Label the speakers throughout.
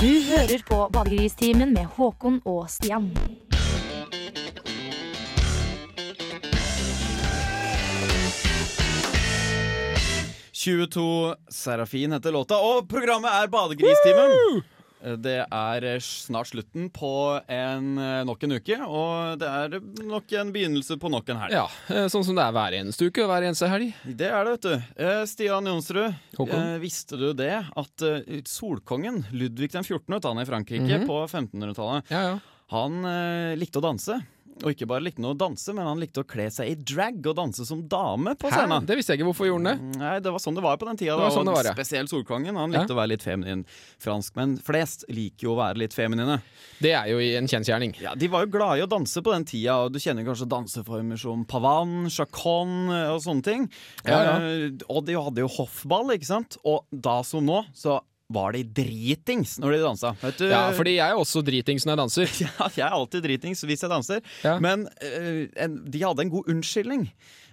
Speaker 1: Du hører på Badegristimen med Håkon og Stian.
Speaker 2: Nei. 22 Serafin heter låta, og programmet er Badegristimen. Eh, Det er snart slutten på en, eh, nok en uke, og det er nok en begynnelse på nok en helg.
Speaker 3: Ja, eh, Sånn som det er hver eneste uke og hver eneste helg.
Speaker 2: Det er det, vet du. Eh, Stian Jonsrud,
Speaker 3: Håkon?
Speaker 2: eh, visste du det at eh, solkongen Ludvig den 14., vet du, han i Frankrike
Speaker 3: Mhm.
Speaker 2: på 1500-tallet,
Speaker 3: Ja, ja.
Speaker 2: han eh, likte å danse. Og ikke bare likte han å danse, men han likte å kle seg i drag og danse som dame på
Speaker 3: Hæ?
Speaker 2: scenen.
Speaker 3: Det visste jeg ikke. Hvorfor gjorde han det?
Speaker 2: Nei, det var sånn det var på den tida.
Speaker 3: Det var
Speaker 2: da,
Speaker 3: sånn det
Speaker 2: og
Speaker 3: var, ja.
Speaker 2: Spesielt Solkongen. Han
Speaker 3: Ja.
Speaker 2: likte å være litt feminin. Franskmenn flest liker jo å være litt feminine.
Speaker 3: Det er jo en kjensgjerning.
Speaker 2: Ja, De var jo glade i å danse på den tida, og du kjenner kanskje danseformer som pavan, chacon eh, og sånne ting.
Speaker 3: Ja, ja.
Speaker 2: Eh, og de hadde jo hoffball, ikke sant? Og da som nå, så var de dritings når de dansa. Vet du?
Speaker 3: Ja, fordi jeg er også dritings når jeg danser.
Speaker 2: Ja, jeg er alltid dritings hvis jeg danser.
Speaker 3: Ja.
Speaker 2: Men eh, en, de hadde en god unnskyldning.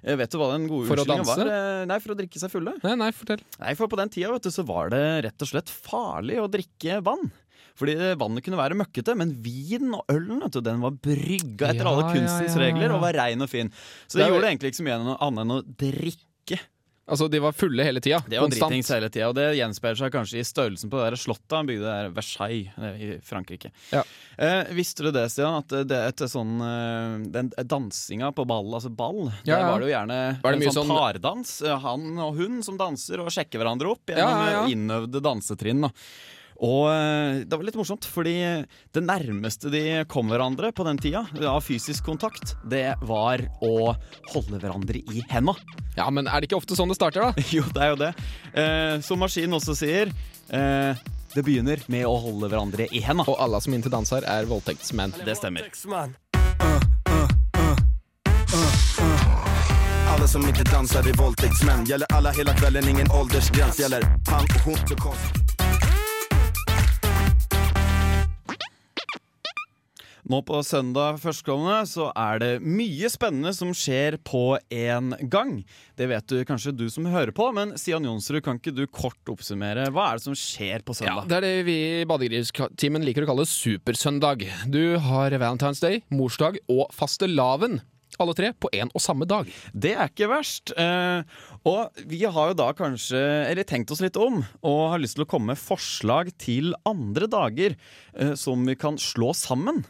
Speaker 2: Eh, vet du hva den gode
Speaker 3: For å
Speaker 2: unnskyldningen
Speaker 3: danse?
Speaker 2: var? Eh, Nei, for å drikke seg fulle.
Speaker 3: Nei, nei, fortell.
Speaker 2: Nei, for på den tida vet du, så var det rett og slett farlig å drikke vann. Fordi eh, vannet kunne være møkkete, men vinen og ølen vet du, den var brygga etter
Speaker 3: Ja,
Speaker 2: alle kunstens
Speaker 3: ja, ja, ja.
Speaker 2: regler og var rein og fin. Så
Speaker 3: Det
Speaker 2: det,
Speaker 3: er jo-
Speaker 2: gjorde egentlig ikke så mye annet enn å drikke.
Speaker 3: Altså, de var fulle hele tida.
Speaker 2: Det var
Speaker 3: Konstant.
Speaker 2: dritings hele tida, og det gjenspeiler seg kanskje i størrelsen på det der slottet han bygde der Versailles eh, i Frankrike.
Speaker 3: Ja.
Speaker 2: Eh, visste du det, Stian, at det er et sånn eh, Den dansinga på ball, altså ball, der
Speaker 3: Ja, ja.
Speaker 2: var det jo gjerne
Speaker 3: Var det
Speaker 2: en
Speaker 3: mye
Speaker 2: sånn,
Speaker 3: sånn-
Speaker 2: pardans. eh, Han og hun som danser og sjekker hverandre opp gjennom
Speaker 3: Ja, ja, ja.
Speaker 2: eh, innøvde dansetrinn. da. Og eh, det var litt morsomt, fordi det nærmeste de kom hverandre på den tida av fysisk kontakt, det var å holde hverandre i henda.
Speaker 3: Ja, men er det ikke ofte sånn det starter, da?
Speaker 2: Jo, det er jo det. Eh, som maskinen også sier, eh, det begynner med å holde hverandre i henda.
Speaker 3: Og alle som inntil danser, er voldtektsmenn.
Speaker 2: Det stemmer.
Speaker 4: Alla som inte dansar är våldtäktsmän Gäller alla hela kvällen, ingen åldersgräns Gäller han, hon, så konst
Speaker 2: Nå på søndag førstkommende så er det mye spennende som skjer på en gang. Det vet du kanskje du som hører på, men Stian Jonsrud, kan ikke du kort oppsummere? Hva er det som skjer på
Speaker 3: Ja,
Speaker 2: søndag?
Speaker 3: det er det vi i Badegristimen liker å kalle supersøndag. Du har Valentine's Day, morsdag og fastelavn. Alle tre på én og samme dag.
Speaker 2: Det er ikke verst. Eh, og vi har jo da kanskje eller tenkt oss litt om og har lyst til å komme med forslag til andre dager eh, som vi kan slå sammen.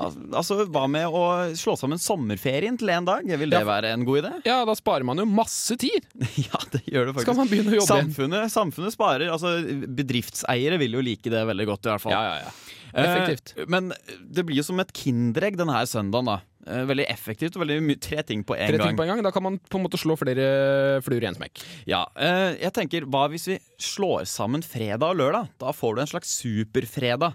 Speaker 2: Al altså, Hva med å slå sammen sommerferien til én dag? Vil det
Speaker 3: Ja.
Speaker 2: være en god idé?
Speaker 3: Ja, da sparer man jo masse tid!
Speaker 2: ja, det gjør det faktisk.
Speaker 3: Skal man begynne å jobbe igjen?
Speaker 2: Samfunnet, samfunnet sparer. altså Bedriftseiere vil jo like det veldig godt, i hvert fall.
Speaker 3: Ja, ja, ja. Effektivt.
Speaker 2: Eh, men det blir jo som et kinderegg denne søndagen. da. Eh, veldig effektivt og veldig mye tre ting på én
Speaker 3: Tre
Speaker 2: gang.
Speaker 3: ting på Eh, en gang. Da kan man på en måte slå flere fluer i en smekk.
Speaker 2: Ja, eh, jeg tenker, Hva hvis vi slår sammen fredag og lørdag? Da får du en slags superfredag.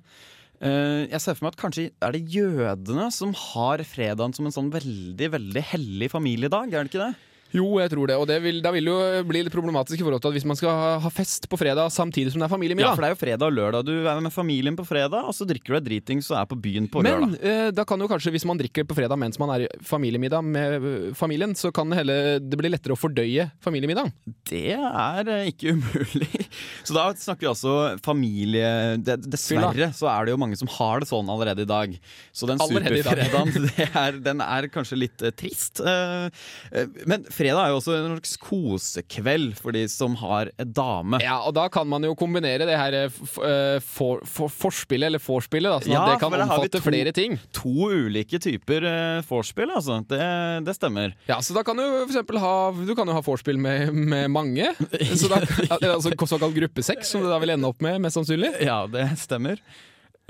Speaker 2: Eh, jeg ser for meg at Kanskje er det jødene som har fredagen som en sånn veldig veldig hellig familiedag? er det ikke det?
Speaker 3: Jo, jeg tror det. Og det vil, da vil det jo eh, bli litt problematisk i forhold til at hvis man skal ha- ha fest på fredag samtidig som det er
Speaker 2: Ja,
Speaker 3: familiemiddag.
Speaker 2: for det er jo fredag og lørdag. Du er med familien på fredag, og så drikker du deg dritings og er på byen på
Speaker 3: Men
Speaker 2: lørdag.
Speaker 3: eh, da kan jo kanskje, hvis man drikker på fredag mens man er i familiemiddag med eh, familien, så kan det hele, det bli lettere å fordøye familiemiddagen.
Speaker 2: Det er eh, ikke umulig. Så da snakker vi altså familie det, Dessverre så er det jo mange som har det sånn allerede i dag. Så den
Speaker 3: Allerede i dag.
Speaker 2: superfredagen det er, den er kanskje litt eh, trist. Eh, eh, men fredag er jo også en slags kosekveld for de som har eh, dame.
Speaker 3: Ja, og da kan man jo kombinere det her eh, f- eh, for, for, forspillet, eller vorspielet, da, sånn
Speaker 2: Ja,
Speaker 3: at det kan
Speaker 2: for da har vi
Speaker 3: omfatte
Speaker 2: to-
Speaker 3: flere ting.
Speaker 2: To ulike typer eh, vorspiel, altså. Det, det stemmer.
Speaker 3: Ja, så da kan du for eksempel ha Du kan jo ha vorspiel med, med mange. Så da, eller altså såkalt gruppesex, som du da vil ende opp med, mest sannsynlig.
Speaker 2: Ja, det stemmer.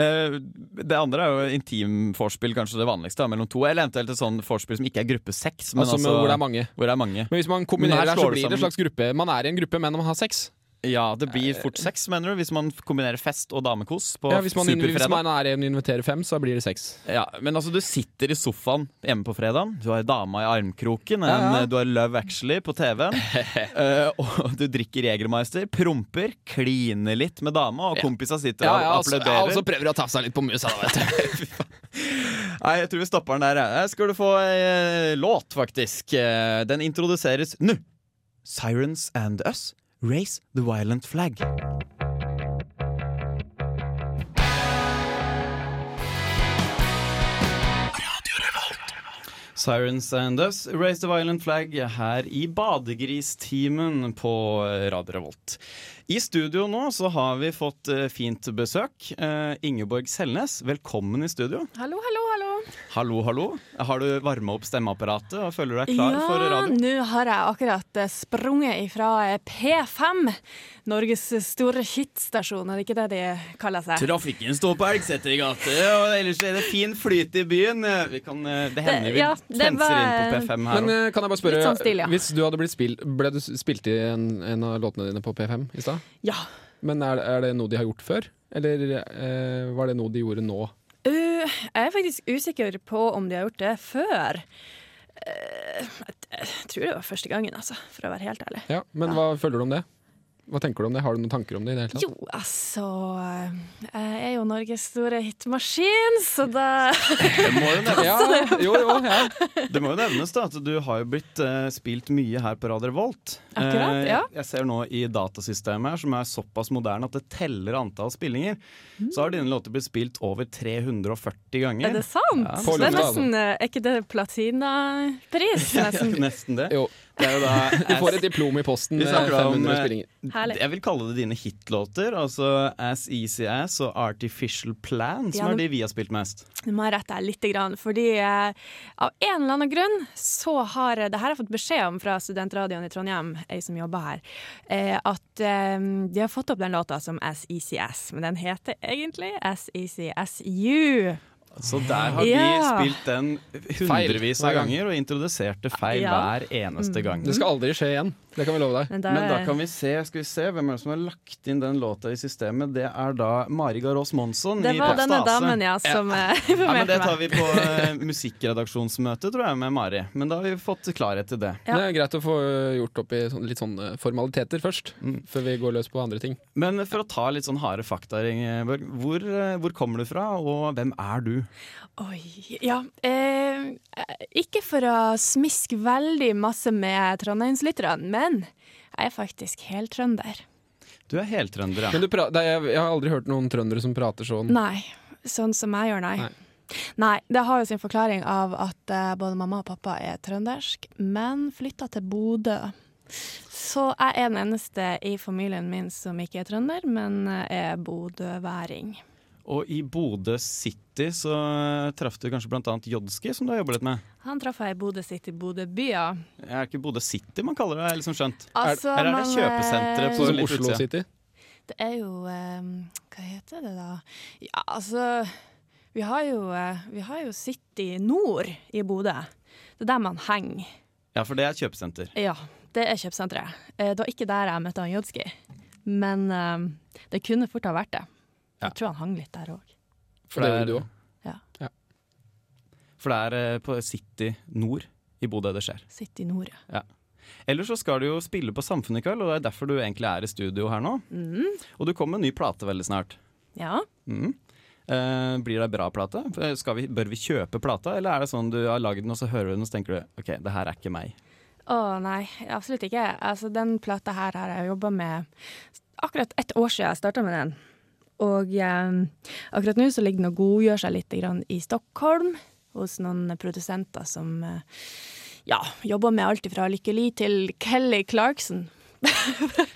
Speaker 2: Eh, det andre er jo intimforspill, kanskje det vanligste, da, mellom to. Eller eventuelt et sånn forspill som ikke er gruppe seks, men
Speaker 3: Altså,
Speaker 2: altså,
Speaker 3: hvor det er mange.
Speaker 2: hvor det er mange.
Speaker 3: Men hvis man
Speaker 2: Men
Speaker 3: kombinerer
Speaker 2: her
Speaker 3: det, her,
Speaker 2: slår det
Speaker 3: så blir det en
Speaker 2: sammen.
Speaker 3: slags gruppe. Man er i en gruppe, men man har sex.
Speaker 2: Ja, det blir fort sex, mener du, hvis man kombinerer fest og damekos på
Speaker 3: Ja, hvis, man, hvis
Speaker 2: superfredag.
Speaker 3: man er en inviterer fem, så blir det sex.
Speaker 2: Ja, men altså, du sitter i sofaen hjemme på fredagen, du har dama i armkroken,
Speaker 3: Ja, ja.
Speaker 2: En, eh, du har Love Actually på TV-en, eh, og du drikker Jegermeister, promper, kliner litt med dama, og kompisa sitter
Speaker 3: Ja,
Speaker 2: og
Speaker 3: ja, altså, ja,
Speaker 2: applauderer.
Speaker 3: og så prøver du å tafse litt på musa, da, vet du.
Speaker 2: Nei, jeg tror vi stopper den der. Her skal du få eh, låt, faktisk. Eh, Den introduseres nå. Sirens and Us, Raise the Violent Flag. Sirens and Us, Raise the Violent Flag her i Badegristimen på Radio Revolt. I studio nå så har vi fått eh, fint besøk. Eh, Ingeborg Selnes, velkommen i studio.
Speaker 5: Hallo, hallo, hallo.
Speaker 2: Hallo, hallo. Har du varma opp stemmeapparatet og føler du deg klar for radio?
Speaker 5: nå har jeg akkurat eh, sprunget ifra eh, P5, Norges store hitstasjon. Er det ikke det de kaller seg?
Speaker 2: Trafikken står på Elgseter i gate, og ellers er det fin flyt i byen. Vi kan, eh, det hender
Speaker 5: Det-
Speaker 2: vi
Speaker 5: ja, det
Speaker 2: fenser
Speaker 5: var-
Speaker 2: inn på P5 her
Speaker 3: Men
Speaker 2: også.
Speaker 3: eh, kan jeg bare spørre,
Speaker 5: Litt sånn stil, ja.
Speaker 3: hvis du hadde blitt spilt, ble du spilt i en, en av låtene dine på P5 i stad?
Speaker 5: Ja.
Speaker 3: Men er, er det noe de har gjort før? Eller eh, var det noe de gjorde nå?
Speaker 5: Uh, jeg er faktisk usikker på om de har gjort det før. Eh, jeg jeg tror det var første gangen, altså, for å være helt ærlig.
Speaker 3: Ja, men hva føler du om det? Hva tenker du om det? Har du noen tanker om det? i det hele tatt?
Speaker 5: Jo, altså Jeg er jo Norges store hitmaskin, så da
Speaker 2: Det må jo
Speaker 5: altså.
Speaker 2: nevnes.
Speaker 3: Ja, jo, jo, ja.
Speaker 2: Det må jo nevnes da at du har jo blitt eh, spilt mye her på Radio Revolt.
Speaker 5: Akkurat,
Speaker 2: Eh,
Speaker 5: ja.
Speaker 2: Jeg ser nå i datasystemet her, som er såpass moderne at det teller antall spillinger, så har dine låter blitt spilt over 340 ganger.
Speaker 5: Er det sant?
Speaker 2: Ja.
Speaker 3: På
Speaker 5: det er
Speaker 3: lufta, altså.
Speaker 5: nesten eh, Er ikke det platinapris, nesten?
Speaker 2: Nesten det.
Speaker 3: Jo,
Speaker 2: Det er jo
Speaker 3: du
Speaker 2: da
Speaker 3: får et diplom i posten
Speaker 2: Vi
Speaker 3: med
Speaker 2: snakker da om,
Speaker 3: 500
Speaker 2: eh,
Speaker 3: spillinger.
Speaker 5: Herlig.
Speaker 2: Jeg vil kalle det dine hitlåter. Altså As Easy As og Artificial Plan, som
Speaker 5: Ja,
Speaker 2: er
Speaker 5: men-
Speaker 2: de vi har spilt mest.
Speaker 5: Nå må jeg rette deg litt, grann, fordi eh, av en eller annen grunn så har eh, det her har jeg fått beskjed om fra studentradioen i Trondheim, ei som jobber her, eh, at eh, de har fått opp den låta som As Easy As, men den heter egentlig As Easy As You.
Speaker 2: Så der har
Speaker 5: Ja.
Speaker 2: vi spilt den hundrevis
Speaker 3: hver
Speaker 2: av
Speaker 3: gang.
Speaker 2: ganger og introduserte feil
Speaker 5: Ja. Mm.
Speaker 2: hver eneste gang.
Speaker 3: Det skal aldri skje igjen. Det kan vi love deg.
Speaker 5: Men da,
Speaker 2: Men da kan vi se, skal vi se hvem er det som har lagt inn den låta i systemet. Det er da Mari Garås Monsson
Speaker 5: det
Speaker 2: i
Speaker 5: var
Speaker 2: Popstase.
Speaker 5: denne damen, ja, som eh,
Speaker 2: Nei, men det
Speaker 5: informerte
Speaker 2: tar
Speaker 5: meg.
Speaker 2: vi på eh, musikkredaksjonsmøte, tror jeg, med Mari. Men da har vi fått klarhet til det.
Speaker 5: Ja.
Speaker 3: Det er greit å få gjort opp i sånn, litt sånne formaliteter først,
Speaker 2: Mm.
Speaker 3: før vi går løs på andre ting.
Speaker 2: Men for å ta litt sånn harde fakta, Ingeborg. Hvor, eh, hvor kommer du fra, og hvem er du?
Speaker 5: Oi, ja. Eh, ikke for å smiske veldig masse med trondheimslytterne, men jeg er faktisk heltrønder.
Speaker 2: Du er heltrønder, ja.
Speaker 3: Men du pra det, er- jeg, jeg har aldri hørt noen trøndere som prater
Speaker 2: Mm.
Speaker 3: sånn.
Speaker 5: Nei, sånn som jeg gjør, nei.
Speaker 3: Nei.
Speaker 5: nei. Det har jo sin forklaring av at eh, både mamma og pappa er trøndersk, men flytta til Bodø. Så jeg er den eneste i familien min som ikke er trønder, men eh, er bodøværing.
Speaker 2: Og i Bodø City så eh, traff du kanskje blant annet Jodski, som du har jobba litt med.
Speaker 5: Han traff jeg i Bodø sitt i Bodø by, ja.
Speaker 2: Er det ikke Bodø City man kaller det, har jeg liksom skjønt?
Speaker 5: Altså,
Speaker 2: eller er det
Speaker 5: man, eh,
Speaker 2: kjøpesenteret på-
Speaker 3: Sånn som
Speaker 2: litt
Speaker 3: Oslo
Speaker 2: utsida.
Speaker 3: City.
Speaker 5: Det er jo eh, Hva heter det, da? Ja, altså Vi har jo, eh, vi har jo City Nord i Bodø. Det er der man henger.
Speaker 2: Ja, for det er et kjøpesenter.
Speaker 5: Ja, det er kjøpesenteret. Eh, Det var ikke der jeg møtte han Jodski, men eh, det kunne fort ha vært det.
Speaker 2: Ja.
Speaker 5: Jeg tror han hang litt der òg.
Speaker 3: For det
Speaker 2: det er-
Speaker 3: gjorde du òg.
Speaker 2: For det er eh, på City Nord i Bodø det skjer.
Speaker 5: Sitt i nord, ja.
Speaker 2: Ellers så skal du jo spille på Samfunnet i kveld, og det er derfor du egentlig er i studio her nå.
Speaker 5: Mm,
Speaker 2: Og du kommer med en ny plate veldig snart.
Speaker 5: ja.
Speaker 2: Mm. Eh, blir det bra plate? Eh, Skal vi, bør vi kjøpe plata, eller er det sånn du har lagd den, og så hører du den, og så tenker du OK, det her er ikke meg.
Speaker 5: Å nei, absolutt ikke. Altså, den plata her har jeg jobba med akkurat ett år siden jeg starta med den. Og eh, akkurat nå så ligger den og godgjør seg litt grann i Stockholm hos noen produsenter som eh, ja, jobber med alt fra Lykke Li til Kelly Clarkson.
Speaker 2: Så,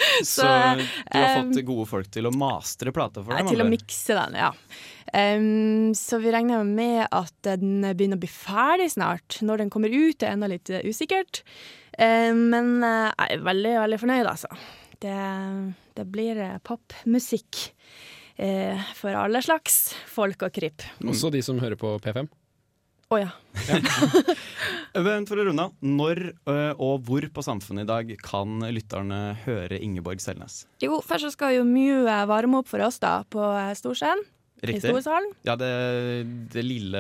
Speaker 5: Så,
Speaker 2: du har
Speaker 5: eh,
Speaker 2: fått gode folk til å mastre plata for
Speaker 5: Nei,
Speaker 2: deg?
Speaker 5: til å
Speaker 2: Mandler.
Speaker 5: mikse den, ja. Ehm, så vi regner med at den begynner å bli ferdig snart. Når den kommer ut, er ennå litt eh, usikkert. Ehm, men eh, jeg er veldig, veldig fornøyd, altså. Det, det blir eh, popmusikk eh, for alle slags folk og kryp.
Speaker 3: Også de som hører på P5.
Speaker 5: Å ja.
Speaker 2: Men for å runde av, når eh, og hvor på Samfunnet i dag kan lytterne høre Ingeborg Selnes?
Speaker 5: Jo, først så skal jo Mew eh, varme opp for oss, da, på eh, Storscenen. I
Speaker 2: Riktig?
Speaker 5: Storsalen.
Speaker 2: Ja, det, det lille,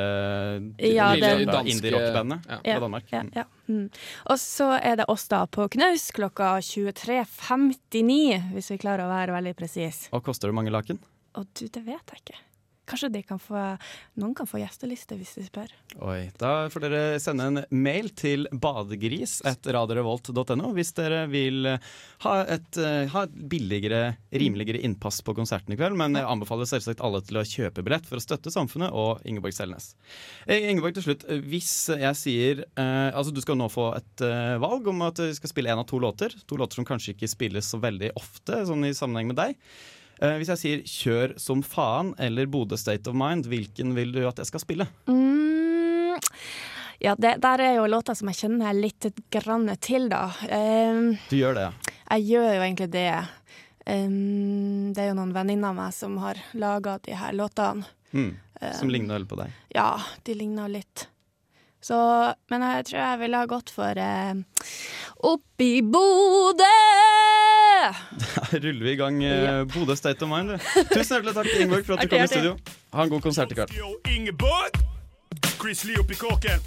Speaker 5: Ja,
Speaker 2: lille
Speaker 5: det-
Speaker 2: danske indie-rockbandet
Speaker 3: Ja.
Speaker 2: fra Danmark.
Speaker 5: Ja, ja. Mm. Og så er det oss da på Knaus klokka 23.59, hvis vi klarer å være veldig presise.
Speaker 2: Og koster det mange laken?
Speaker 5: Å, du, det vet jeg ikke. Kanskje de kan få, noen kan få gjesteliste hvis de spør.
Speaker 2: Oi, Da får dere sende en mail til badegris.radiorevolt.no hvis dere vil eh, ha et, eh, ha et billigere, rimeligere innpass på konserten i kveld. Men jeg anbefaler selvsagt alle til å kjøpe billett for å støtte samfunnet og Ingeborg Selnes. Eh, Ingeborg, til slutt. eh, Hvis jeg sier eh, Altså, du skal nå få et eh, valg om at vi skal spille én av to låter. To låter som kanskje ikke spilles så veldig ofte, sånn i sammenheng med deg. Eh, hvis jeg sier 'Kjør som faen' eller 'Bodø State of Mind', hvilken vil du at jeg skal spille?
Speaker 5: Mm. Ja, det der er jo låter som jeg kjenner litt grann til, da. Ehm,
Speaker 2: Du gjør det, ja.
Speaker 5: jeg gjør jo egentlig det. Ehm, det er jo noen venninner av meg som har laga de her låtene.
Speaker 2: Mm. Som
Speaker 5: Ehm,
Speaker 2: ligner veldig på deg.
Speaker 5: Ja, de ligner jo litt. Så, men jeg tror jeg ville ha gått for eh, Oppi Bodø!
Speaker 2: Her ruller vi i gang eh, Bodø State of Mind. du. Tusen hjertelig takk Ingeborg for at du
Speaker 5: Artig,
Speaker 2: kom i
Speaker 5: artig.
Speaker 2: studio. Ha en god konsert i kveld.
Speaker 6: Ski og Ingeborg. Chris Lee oppi kåken.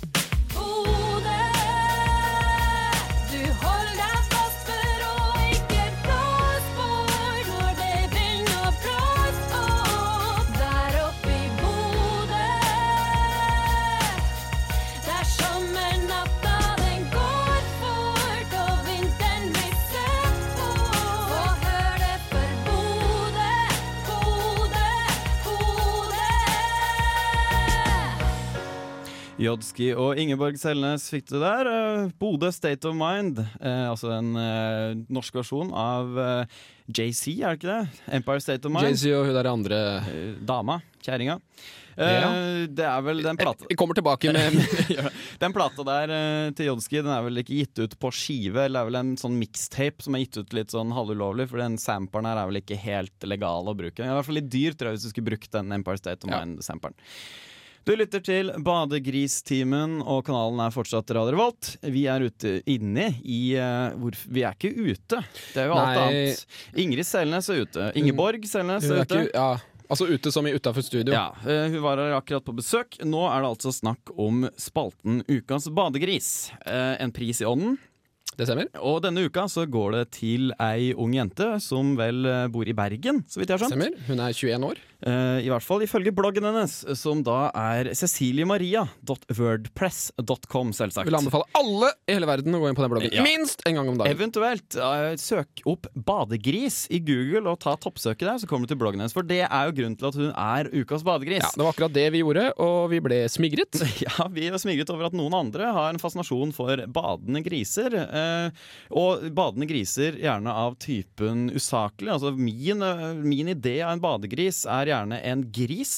Speaker 7: Du holder deg fast for å ikke blåse bort når det begynner å blåse opp. Der oppe i Bodø, der sommernatta den går fort og vinteren blir sett på. Få hør det for Bodø, Bodø, Bodø.
Speaker 2: Jodski og Ingeborg Selnes fikk du der. eh, Bodø State of Mind. Eh, altså en eh, norsk versjon av eh, JC, er det ikke det? Empire State of Mind.
Speaker 3: Jay-Z og hun der andre
Speaker 2: Eh, Dama. Kjerringa. Eh,
Speaker 3: Ja.
Speaker 2: Det er vel den plata
Speaker 3: Jeg eh, kommer tilbake med
Speaker 2: Gjør det. Den plata der eh, til Jodski Den er vel ikke gitt ut på skive, eller det er vel en sånn mixtape som er gitt ut litt sånn halvulovlig, for den samperen her er vel ikke helt legal å bruke. Den er i hvert fall litt dyr, tror jeg, hvis du skulle brukt den Empire State of
Speaker 3: Ja.
Speaker 2: Mind-samperen. Du lytter til Badegristimen, og kanalen er fortsatt Radio Revolt. Vi er ute inne i eh, hvor, Vi er ikke ute, det er jo alt
Speaker 3: Nei. Mm.
Speaker 2: annet. Ingrid Selnes er ute. Ingeborg Selnes
Speaker 3: Hun
Speaker 2: er
Speaker 3: er
Speaker 2: ute.
Speaker 3: ikke, ja, Altså ute som i utafor studio.
Speaker 2: Ja, eh, Hun var her akkurat på besøk. Nå er det altså snakk om spalten Ukas badegris. Eh, En pris i ånden.
Speaker 3: Det stemmer?
Speaker 2: Og denne uka så går det til ei ung jente som vel eh, bor i Bergen, så vidt jeg har skjønt.
Speaker 3: stemmer. Hun er 21 år.
Speaker 2: Eh, I hvert fall ifølge bloggen hennes, som da er ceciliemaria.wordpress.com,
Speaker 3: Vil
Speaker 2: selvsagt.
Speaker 3: anbefale alle i hele verden å gå inn på den bloggen.
Speaker 2: Ja.
Speaker 3: Minst en gang om dagen.
Speaker 2: Eventuelt eh, søk opp 'badegris' i Google og ta toppsøket der, så kommer du til bloggen hennes. For det er jo grunnen til at hun er ukas badegris.
Speaker 3: Ja, det var akkurat det vi gjorde, og vi ble smigret.
Speaker 2: Ja, vi er smigret over at noen andre har en fascinasjon for badende griser. Eh, og badende griser gjerne av typen usaklig. Altså min, eh, min idé av en badegris er gjerne en gris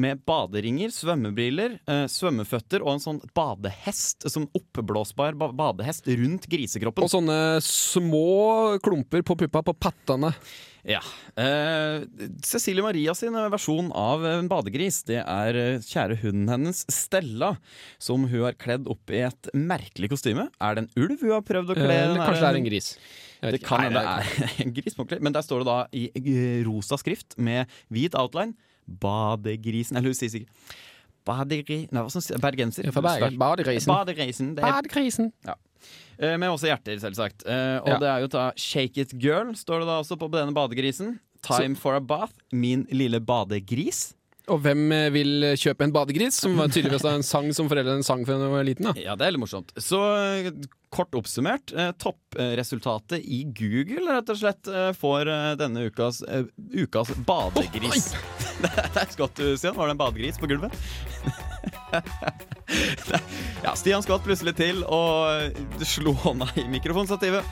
Speaker 2: med baderinger, svømmebriller, eh, svømmeføtter og en sånn badehest, som oppblåsbar ba badehest rundt grisekroppen.
Speaker 3: Og sånne små klumper på puppa på pattene.
Speaker 2: Ja. Eh, Cecilie Maria sin versjon av en badegris, det er eh, kjære hunden hennes Stella, som hun har kledd opp i et merkelig kostyme. Er det en ulv hun har prøvd å kle?
Speaker 3: Eller
Speaker 2: den her-
Speaker 3: Eh, kanskje det er en gris. Jeg vet
Speaker 2: Det
Speaker 3: ikke.
Speaker 2: kan hende
Speaker 3: Nei, det er
Speaker 2: det er en gris, må kle- men der står det da i eh, rosa skrift med hvit outline 'Badegrisen' Eller hun sier sikkert Badegri... Nei, hva som sier Bergenser.
Speaker 3: Ja, for Bergen. Badegrisen.
Speaker 2: Badegrisen. Det er
Speaker 3: Badegrisen.
Speaker 2: Eh, Med også hjerter, selvsagt. Eh, Og
Speaker 3: Ja.
Speaker 2: det er jo da Shake It Girl, står det da også på denne badegrisen. Time for a bath, min lille badegris.
Speaker 3: Og hvem eh, vil kjøpe en badegris? Som var tydeligvis en sang som foreldrene sang fra da jeg var liten. Da.
Speaker 2: Ja, det er litt morsomt. Så eh, kort oppsummert, eh, toppresultatet i Google rett og slett eh, får eh, denne ukas, eh, ukas badegris. det er skvatt du, Stian. Var det en badegris på gulvet? ja, Stian skvatt plutselig til og eh, slo hånda i mikrofonstativet.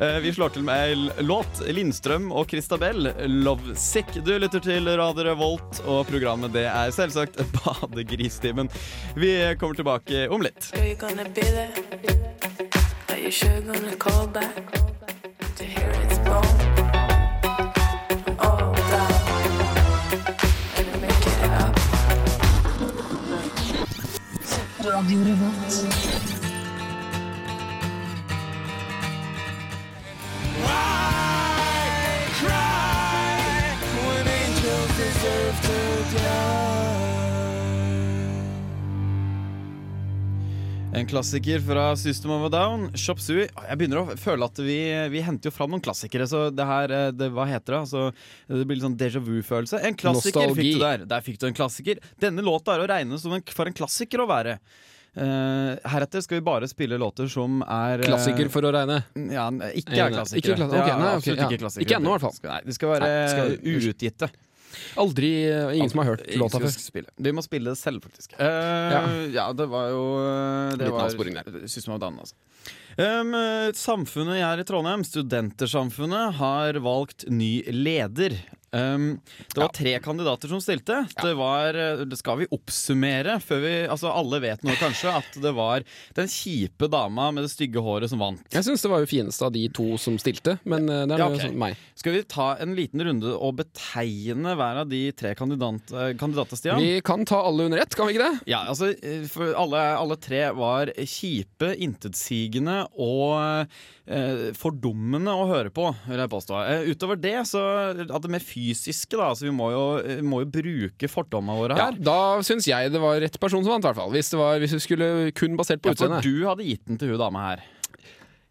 Speaker 2: Eh, Vi slår til med ei låt. Lindstrøm og Christabel, 'Lovesick'. Du lytter til Radio Revolt, og programmet det er selvsagt Badegristimen. Vi kommer tilbake om litt.
Speaker 8: Are you gonna be there? Are you sure gonna call back? To hear its bone. I'm all down. Gonna make it up.
Speaker 2: Eh, En klassiker fra System of a Down, Chop Suey. Ah, Jeg begynner å føle at vi, vi henter jo fram noen klassikere, så det her eh, det, Hva heter det? Altså, det blir litt sånn déjà vu-følelse. En klassiker
Speaker 3: Nostalgi.
Speaker 2: fikk du der. Der fikk du en klassiker. Denne låta er å regne som en, for en klassiker å være. Eh, heretter skal vi bare spille låter som er eh,
Speaker 3: Klassiker for å regne.
Speaker 2: Ja, n- ikke
Speaker 3: Nei,
Speaker 2: er klassikere.
Speaker 3: ikke kla-
Speaker 2: Det er
Speaker 3: ok, nei, ok,
Speaker 2: absolutt
Speaker 3: ja.
Speaker 2: ikke klassikere.
Speaker 3: Ikke ennå, i hvert fall.
Speaker 2: Skal- Nei, de skal være
Speaker 3: Nei, skal-
Speaker 2: uutgitte.
Speaker 3: Aldri eh, Ingen som har hørt
Speaker 2: Ingen
Speaker 3: låta
Speaker 2: som
Speaker 3: før.
Speaker 2: skal spille. Vi må spille det selv, faktisk. Eh, ja. det var jo eh, Det
Speaker 3: Liten
Speaker 2: var
Speaker 3: avsporing der.
Speaker 2: System of a Down, altså. Um, eh, samfunnet her i Trondheim, Studentersamfunnet, har valgt ny leder. Um, det var tre kandidater som stilte. Det var eh, det Skal vi oppsummere før vi Altså, alle vet nå kanskje at det var den kjipe dama med det stygge håret som vant.
Speaker 3: Jeg syns det var jo fineste av de to som stilte, men eh, det er
Speaker 2: Ja,
Speaker 3: jo
Speaker 2: ok.
Speaker 3: sånn meg.
Speaker 2: Skal vi ta en liten runde og betegne hver av de tre kandidat, eh, kandidater, Stian?
Speaker 3: Vi kan ta alle under ett, kan vi ikke det?
Speaker 2: Ja, altså eh, for alle, alle tre var kjipe, intetsigende og eh, fordummende å høre på, vil jeg påstå. Eh, utover det, så at det mer fysiske, da. Altså vi må jo, eh, må jo bruke fordommene våre
Speaker 3: Ja,
Speaker 2: her.
Speaker 3: da syns jeg det var rett person som vant, i hvert fall. Hvis det var, hvis vi skulle kun basert på
Speaker 2: Ja, for
Speaker 3: utseendet.
Speaker 2: du hadde gitt den til hun dama her.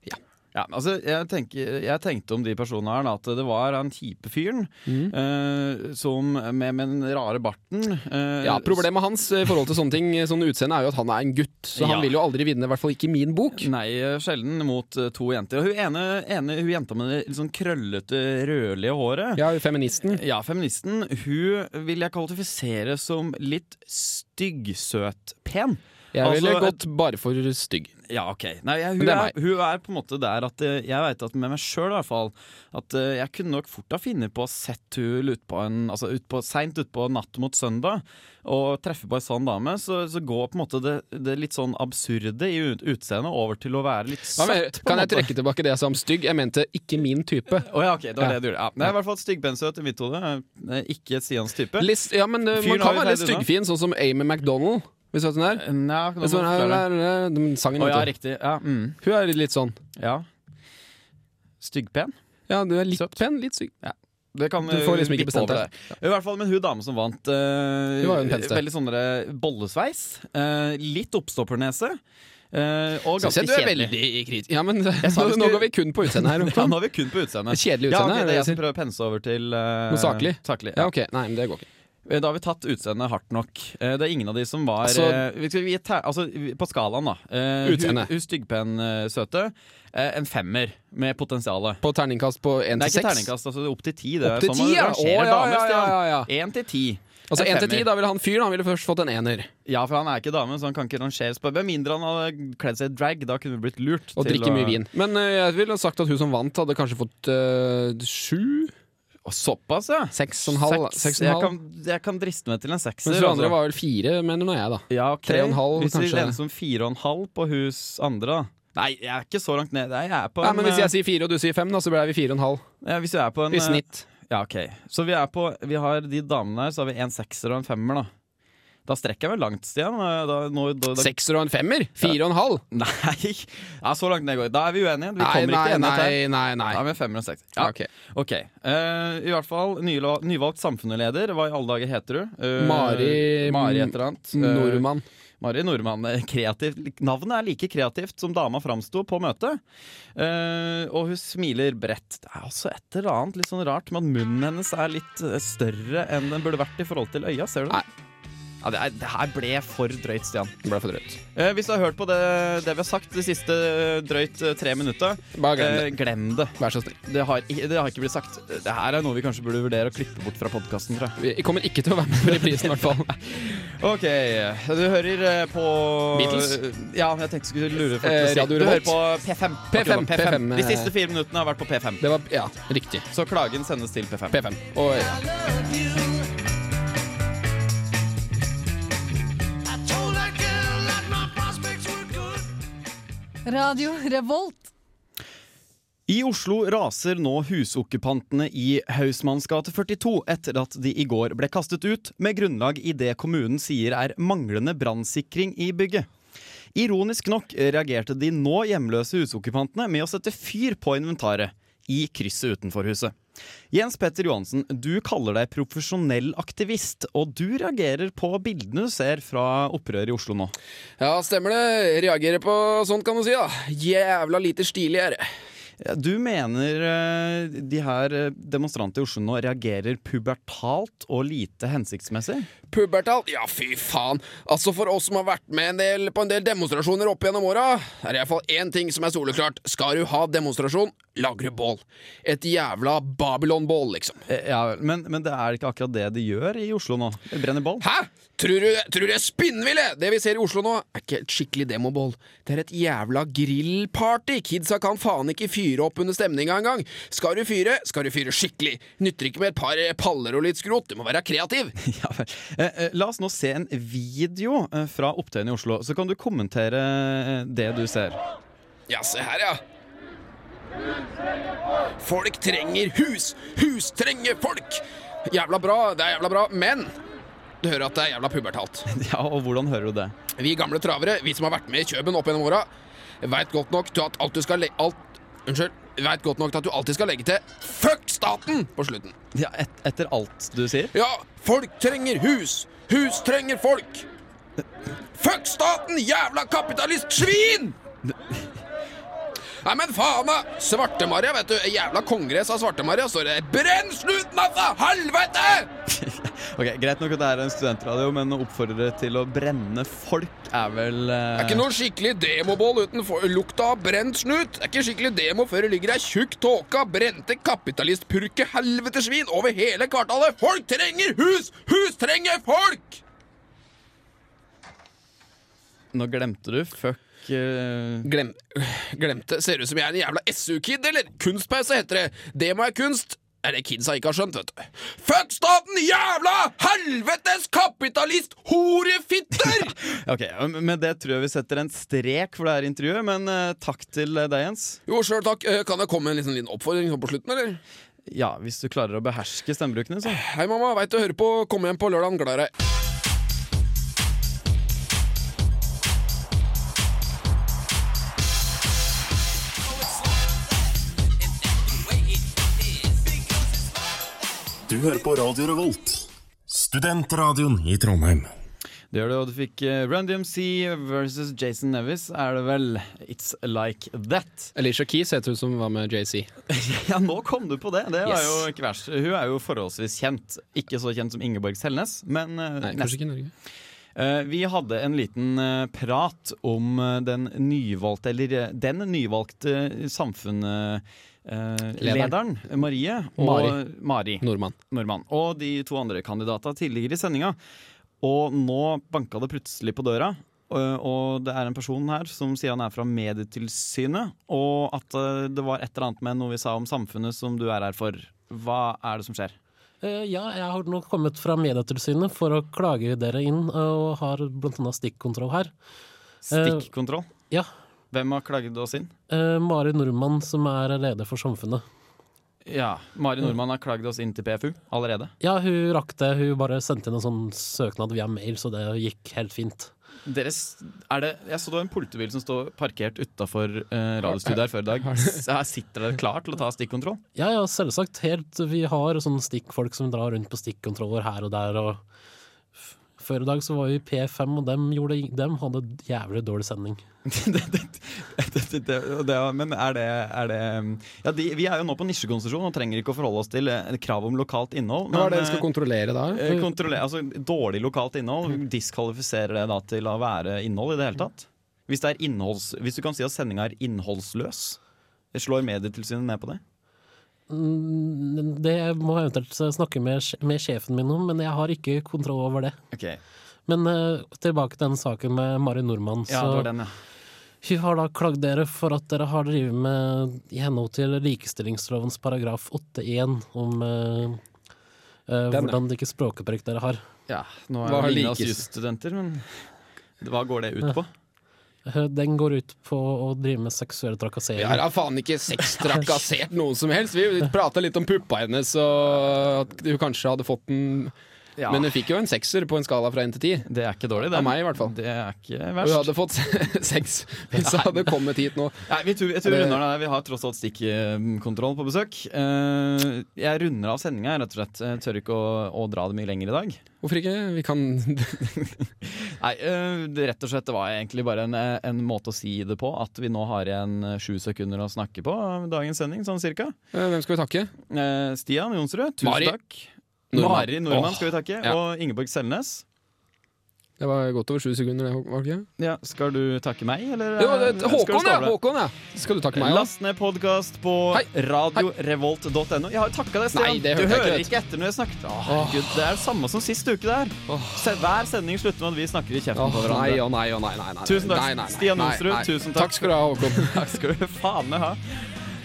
Speaker 3: Ja.
Speaker 2: Ja, altså, jeg, tenker, jeg tenkte om de personene her da, at det var han kjipe fyren
Speaker 3: Mm.
Speaker 2: eh, som, med, med den rare barten. eh,
Speaker 3: Ja, Problemet hans eh, i forhold til sånne ting Sånn utseende er jo at han er en gutt, så han
Speaker 2: Ja.
Speaker 3: vil jo aldri vinne, i hvert fall ikke i min bok.
Speaker 2: Nei, eh, sjelden mot eh, to jenter. Og Hun ene, ene hun jenta med det litt sånn krøllete, rødlige håret.
Speaker 3: Ja, feministen.
Speaker 2: Ja, feministen. Hun vil jeg kvalifisere som litt styggsøt-pen.
Speaker 3: Jeg ville
Speaker 2: Altså,
Speaker 3: gått bare for stygg.
Speaker 2: Ja, ok. Nei, jeg,
Speaker 3: Men
Speaker 2: hun,
Speaker 3: det er
Speaker 2: er, hun er på en måte der at eh, jeg veit at med meg sjøl i hvert fall, at eh, jeg kunne nok fort ha funnet på å sett hun ut på en, altså ut på, seint utpå natt mot søndag og treffe på ei sånn dame, så, så går på en måte det, det litt sånn absurde i ut- utseendet over til å være litt
Speaker 3: Hva mener-
Speaker 2: søtt. på en
Speaker 3: Kan jeg
Speaker 2: måte.
Speaker 3: trekke tilbake det jeg sa om stygg? Jeg mente ikke min type.
Speaker 2: Å ja, ok, det var det
Speaker 3: Ja.
Speaker 2: du gjorde. Ja. Nei, i hvert fall styggbensøt i mitt hode. Eh, Ikke Stians type.
Speaker 3: List, ja, men eh,
Speaker 2: Fyren
Speaker 3: Man kan
Speaker 2: har jo
Speaker 3: være litt
Speaker 2: pleid unna.
Speaker 3: styggfin, sånn som Amy McDonald. Hvis du vet hvem det er.
Speaker 2: Nei, kan du
Speaker 3: Sånn,
Speaker 2: forklare?
Speaker 3: den sangen,
Speaker 2: Å ja,
Speaker 3: vet du.
Speaker 2: riktig. Ja, mm.
Speaker 3: Hun er litt sånn.
Speaker 2: ja. Styggpen.
Speaker 3: Ja, du er litt
Speaker 2: Søt.
Speaker 3: pen, litt stygg.
Speaker 2: Det kan
Speaker 3: Du får liksom ikke
Speaker 2: vippe
Speaker 3: bestemt
Speaker 2: over
Speaker 3: deg.
Speaker 2: der. I hvert fall, men hun dame som vant eh,
Speaker 3: Hun var jo en penste.
Speaker 2: Veldig sånn der bollesveis. eh, litt oppstoppernese. eh, og ganske
Speaker 3: Synes jeg du er
Speaker 2: kjedelig.
Speaker 3: veldig kritisk. Ja, men
Speaker 2: sa
Speaker 3: nå,
Speaker 2: vi
Speaker 3: nå
Speaker 2: skulle-
Speaker 3: går vi kun på utseendet her.
Speaker 2: Ja, nå er vi kun på utseendet.
Speaker 3: Kjedelig
Speaker 2: Ja,
Speaker 3: utseende,
Speaker 2: ok,
Speaker 3: er det
Speaker 2: det er jeg
Speaker 3: jeg
Speaker 2: som prøver å pense over til eh,
Speaker 3: Noe saklig?
Speaker 2: ja.
Speaker 3: Ja, ok. Nei, men det går ikke.
Speaker 2: Eh, Da har vi tatt utseendet hardt nok. Eh, Det er ingen av de som var
Speaker 3: Altså-
Speaker 2: eh, vi skal gi et ter, altså, vi- På skalaen, da. Eh,
Speaker 3: Utseende.
Speaker 2: Hun, hun styggpen eh, søte. Eh, En femmer med potensialet.
Speaker 3: På terningkast på
Speaker 2: Det er
Speaker 3: én til
Speaker 2: ikke
Speaker 3: seks?
Speaker 2: terningkast, altså, det er opp til ti. Det
Speaker 3: Opp
Speaker 2: er
Speaker 3: til
Speaker 2: sånn man
Speaker 3: ti, ja.
Speaker 2: rangerer
Speaker 3: Å, ja,
Speaker 2: damer,
Speaker 3: ja,
Speaker 2: Stian.
Speaker 3: ja, ja.
Speaker 2: Én til ti.
Speaker 3: Altså
Speaker 2: En
Speaker 3: én til ti,
Speaker 2: femmer.
Speaker 3: da ville han fyren han ville først fått en ener.
Speaker 2: Ja, for han er ikke dame, så han kan ikke rangeres på Med mindre han hadde kledd seg i drag, da kunne vi blitt lurt.
Speaker 3: Og
Speaker 2: til
Speaker 3: drikke mye vin. Men eh, jeg ville sagt at hun som vant, hadde kanskje fått eh, sju?
Speaker 2: Å, Såpass, ja.
Speaker 3: Seks og en Sånn halv?
Speaker 2: Seks.
Speaker 3: Seks og en
Speaker 2: Jeg,
Speaker 3: halv.
Speaker 2: kan, jeg kan driste meg til en sekser.
Speaker 3: Mens hun
Speaker 2: altså.
Speaker 3: andre var vel fire, mener nå jeg, da.
Speaker 2: Ja, ok.
Speaker 3: Tre og en halv,
Speaker 2: hvis vi
Speaker 3: kanskje.
Speaker 2: regner som fire og en halv på hus andre, da. Nei, jeg er ikke så langt ned. Nei, jeg er på
Speaker 3: Nei,
Speaker 2: en,
Speaker 3: men Hvis
Speaker 2: eh,
Speaker 3: jeg sier fire og du sier fem, da, så ble vi fire og en halv
Speaker 2: ja, hvis vi er på en
Speaker 3: i
Speaker 2: eh,
Speaker 3: snitt.
Speaker 2: Ja, ok. Så vi er på Vi har de damene her, så har vi en sekser og en femmer, da. Da strekker jeg meg langt, Stian. Eh, Da, nå, da, da,
Speaker 3: Sekser og en femmer? Fire og en halv?
Speaker 2: Nei! Ja, så langt ned går jeg. Da er vi uenige. Vi
Speaker 3: Nei,
Speaker 2: kommer
Speaker 3: nei,
Speaker 2: ikke enighet
Speaker 3: nei,
Speaker 2: her.
Speaker 3: nei, nei.
Speaker 2: Da er vi en femmer og en sekser. Ja,
Speaker 3: Ok.
Speaker 2: ok. Eh, I hvert fall, nyla- nyvalgt samfunnsleder. Hva i alle dager heter du? Eh,
Speaker 3: Mari-
Speaker 2: Mari et eller annet. Eh,
Speaker 3: Nordmann.
Speaker 2: Mari Nordmann. eh, Kreativt. Navnet er like kreativt som dama framsto på møtet. Eh, og hun smiler bredt. Det er altså et eller annet litt sånn rart med at munnen hennes er litt eh, større enn den burde vært i forhold til øya. Ser du det?
Speaker 3: Nei.
Speaker 2: Ja, det, er, det her ble for drøyt, Stian.
Speaker 3: Det ble for drøyt.
Speaker 2: Eh, hvis du har hørt på det, det vi har sagt de siste drøyt eh, tre minutta,
Speaker 3: Bare glem
Speaker 2: eh,
Speaker 3: det.
Speaker 2: glem det.
Speaker 3: Vær så snill.
Speaker 2: Det har, ikke- det har ikke blitt sagt. Det her er noe vi kanskje burde vurdere å klippe bort fra podkasten, tror jeg.
Speaker 3: Vi kommer ikke til å være med på reprisen, i hvert fall.
Speaker 2: Ok, du hører eh, på
Speaker 3: Beatles?
Speaker 2: Ja, jeg tenkte jeg skulle lure folk
Speaker 3: Eh,
Speaker 2: til å si
Speaker 3: Radio
Speaker 2: Du hører
Speaker 3: Revolt?
Speaker 2: på P5.
Speaker 3: P5, P5.
Speaker 2: De siste fire minuttene har vært på P5.
Speaker 3: Det var Ja, riktig.
Speaker 2: Så klagen sendes til P5.
Speaker 3: P5. Og, ja.
Speaker 9: Radio Revolt.
Speaker 2: I Oslo raser nå husokkupantene i Hausmannsgate 42 etter at de i går ble kastet ut, med grunnlag i det kommunen sier er manglende brannsikring i bygget. Ironisk nok reagerte de nå hjemløse husokkupantene med å sette fyr på inventaret i krysset utenfor huset. Jens Petter Johansen, du kaller deg profesjonell aktivist, og du reagerer på bildene du ser fra opprøret i Oslo nå.
Speaker 3: Ja, stemmer det. Reagerer på sånt, kan du si. da Jævla lite stilig her.
Speaker 2: Ja, Du mener eh, de her eh, demonstrantene i Oslo nå reagerer pubertalt og lite hensiktsmessig?
Speaker 3: Pubertalt? Ja, fy faen. Altså For oss som har vært med en del på en del demonstrasjoner opp gjennom åra, er det iallfall én ting som er soleklart. Skal du ha demonstrasjon, lager du bål. Et jævla Babylon-bål, liksom.
Speaker 2: Eh, Ja, vel, men, men det er ikke akkurat det de gjør i Oslo nå. De brenner bål.
Speaker 3: Hæ? Tror du, tror du jeg er spinnvill, jeg? Det vi ser i Oslo nå, er ikke et skikkelig demobål. Det er et jævla grillparty. Kidsa kan faen ikke fyre opp under stemninga engang. Skal du fyre, skal du fyre skikkelig. Nytter ikke med et par eh, paller og litt skrot. Du må være kreativ.
Speaker 2: Ja, vel. Eh, eh, La oss nå se en video eh, fra opptøyene i Oslo, så kan du kommentere eh, det du ser.
Speaker 3: Ja, se her, ja. Folk trenger hus! Hus trenger folk! Jævla bra, det er jævla bra, men du hører at det er jævla pubertalt.
Speaker 2: Ja, og hvordan hører du det?
Speaker 3: Vi gamle travere, vi som har vært med i Kjøben opp gjennom åra, veit godt nok til at alt du skal le... Alt, unnskyld. Veit godt nok til at du alltid skal legge til 'fuck staten' på slutten.
Speaker 2: Ja, et, etter alt du sier?
Speaker 3: Ja, folk trenger hus! Hus trenger folk! Fuck staten, jævla kapitalistsvin! Nei, men faen, da! Svartemaria, vet du. Jævla kongress av Svartemaria står det 'Brenn sluttnatta, helvete!'
Speaker 2: Ok, Greit nok at det er en studentradio, men å oppfordre til å brenne folk er vel eh,
Speaker 3: Det er ikke noe skikkelig demobål uten for- lukta av brent snut. Det er ikke skikkelig demo før det ligger ei tjukk tåke av brente kapitalistpurke helvetesvin over hele kvartalet. Folk trenger hus! Hus trenger folk!
Speaker 2: Nå glemte du fuck eh,
Speaker 3: Glem, glemte? Ser ut som jeg er en jævla SU-kid, eller? Kunstpause heter det. Det må være kunst. Er det kidsa ikke har skjønt, vet du. Fuck staten, jævla helvetes kapitalist horefitter!
Speaker 2: Ok, Med det tror jeg vi setter en strek for det her intervjuet, men eh, takk til deg, Jens.
Speaker 3: jo, sjøl takk. Eh, Kan det komme en liten, liten oppfordring sånn på slutten, eller?
Speaker 2: Ja, hvis du klarer å beherske stemmebrukene, så.
Speaker 3: Hei, mamma. Veit du hører på. Kom hjem på lørdag. Glad i deg.
Speaker 6: Du hører på Radio Revolt, studentradioen i Trondheim.
Speaker 2: Det gjør det, og du fikk eh, Run DMC versus Jason Nevis, er det vel? It's like that.
Speaker 3: Alicia Keys heter hun som var med JC.
Speaker 2: Ja, nå kom du på det! Det var
Speaker 3: Yes.
Speaker 2: jo ikke verst. Hun er jo forholdsvis kjent. Ikke så kjent som Ingeborg Selnes, men eh, nesten.
Speaker 3: ikke i Norge.
Speaker 2: Eh, Vi hadde en liten eh, prat om eh, den nyvalgte, eller eh, den nyvalgte eh, samfunnslederen, Marie, og
Speaker 3: Mari.
Speaker 2: Mari.
Speaker 3: Nordmann.
Speaker 2: Nordmann. Og de to andre kandidatene tidligere i sendinga. Og nå banka det plutselig på døra. øh, Og det er en person her som sier han er fra Medietilsynet. Og at øh, det var et eller annet med noe vi sa om samfunnet som du er her for. Hva er det som skjer?
Speaker 10: Eh, Ja, jeg har nå kommet fra Medietilsynet for å klage dere inn, eh, og har blant annet stikkontroll her.
Speaker 2: Stikkontroll?
Speaker 10: Eh, Ja,
Speaker 2: Hvem har klaget oss inn?
Speaker 10: eh, Mari Nordmann som er leder for Samfunnet.
Speaker 2: Ja, Mari Nordmann har klaget oss inn til PFU allerede.
Speaker 10: Ja, hun rakk det. Hun bare sendte inn en sånn søknad via mail, så det gikk helt fint.
Speaker 2: Deres, er det, jeg så det var en politibil som stod parkert utafor radiostudiet her før i dag. Her sitter dere klar til å ta stikkontroll?
Speaker 10: Ja, ja, selvsagt. Helt, vi har sånne stikkfolk som drar rundt på stikkontroller her og der, og f- før i dag så var vi i P5, og dem, gjorde, ing- dem hadde jævlig dårlig sending.
Speaker 2: det, det, det, det, det, det, men er det, er det um, ja, de, Vi er jo nå på nisjekonsesjon og trenger ikke å forholde oss til eh, krav om lokalt innhold.
Speaker 3: Hva
Speaker 2: Men,
Speaker 3: er det dere skal kontrollere da?
Speaker 2: eh, eh, kontrollere- altså, dårlig lokalt innhold diskvalifiserer det da til å være innhold i det hele tatt? Hvis, det er innholds, hvis du kan si at sendinga er innholdsløs? Slår Medietilsynet ned på det?
Speaker 10: Mm, Det må jeg eventuelt snakke med, sj- med sjefen min om, men jeg har ikke kontroll over det.
Speaker 2: Ok,
Speaker 10: Men eh, tilbake til den saken med Mari Nordmann.
Speaker 2: ja,
Speaker 10: så
Speaker 2: det var den, ja.
Speaker 10: Hun har da klagd dere for at dere har drevet med i henhold til likestillingslovens paragraf 8-1 om eh, eh,
Speaker 3: Den, ja.
Speaker 10: hvordan hvilket språkopprykk dere har.
Speaker 2: ja nå er
Speaker 3: Hva har
Speaker 2: jo Line oss
Speaker 3: likes-
Speaker 2: jusstudenter, men hva går det ut på?
Speaker 10: Eh, Den går ut på å drive med seksuell trakassering.
Speaker 3: Vi har da faen ikke sextrakassert noen som helst. Vi prata litt om puppa hennes, og at hun kanskje hadde fått en
Speaker 2: Ja.
Speaker 3: Men hun fikk jo en sekser på en skala fra én til ti.
Speaker 2: Det er ikke dårlig. Det
Speaker 3: Av meg, i hvert fall.
Speaker 2: Det er ikke
Speaker 3: Hun
Speaker 2: verst.
Speaker 3: hadde fått seks hvis hun hadde kommet hit nå.
Speaker 2: Nei, vi tror, jeg tror vi
Speaker 3: Det-
Speaker 2: runder det her. Vi har tross alt stikkontroll på besøk. Eh, Jeg runder av sendinga, rett og slett. Jeg tør ikke å, å dra det mye lenger i dag.
Speaker 3: Hvorfor ikke? Vi kan
Speaker 2: Nei, eh, det, rett og slett, det var egentlig bare en, en måte å si det på. At vi nå har igjen sju sekunder å snakke på av dagens sending, sånn cirka.
Speaker 3: Eh, Hvem skal vi takke?
Speaker 2: Eh, Stian Jonsrud, tusen
Speaker 3: Mari
Speaker 2: takk. Mari Nordmann skal vi takke.
Speaker 3: Ja.
Speaker 2: Og Ingeborg Selnes.
Speaker 3: Åh, Det var godt over sju sekunder, det, var det ikke?
Speaker 2: Ja, skal du takke meg, eller?
Speaker 3: Det var
Speaker 2: eh,
Speaker 3: det-
Speaker 2: skal du
Speaker 3: Håkon,
Speaker 2: stå
Speaker 3: ja!
Speaker 2: over det?
Speaker 3: Håkon, ja. Skal du takke meg òg?
Speaker 2: Last ned podkast på
Speaker 3: Hei.
Speaker 2: radiorevolt.no. Jeg har takka deg, Stian.
Speaker 3: Nei, det
Speaker 2: du
Speaker 3: hørte jeg
Speaker 2: hører
Speaker 3: ikke,
Speaker 2: ikke etter når jeg snakket. Å, herregud, det er det samme som sist uke der. Se, hver sending slutter med at vi snakker i kjeften
Speaker 3: Åh,
Speaker 2: på
Speaker 3: nei,
Speaker 2: hverandre.
Speaker 3: å nei, å nei, nei, nei.
Speaker 2: Tusen takk,
Speaker 3: Nei, nei, nei,
Speaker 2: Stian
Speaker 3: nei,
Speaker 2: Jonsrud,
Speaker 3: nei.
Speaker 2: tusen takk.
Speaker 3: Takk skal du ha, Håkon.
Speaker 2: Takk skal du faen meg ha.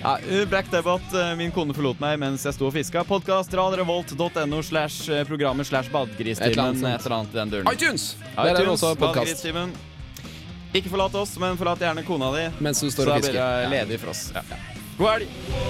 Speaker 2: Ja, uh, Black Debate, uh, min kone forlot meg mens jeg sto og fiska. Podkast radiorevolt.no slash uh, programmer slash
Speaker 3: Et eller annet
Speaker 2: badegristimen.
Speaker 3: sånt.
Speaker 2: Et eller annet i den duren.
Speaker 3: iTunes! Der er det også podkast.
Speaker 2: Badegristimen. Ikke forlat oss, men forlat gjerne kona di.
Speaker 3: Mens du
Speaker 2: Så
Speaker 3: står
Speaker 2: da
Speaker 3: og
Speaker 2: blir
Speaker 3: fisker.
Speaker 2: det
Speaker 3: Ja.
Speaker 2: ledig for oss. Ja. God helg.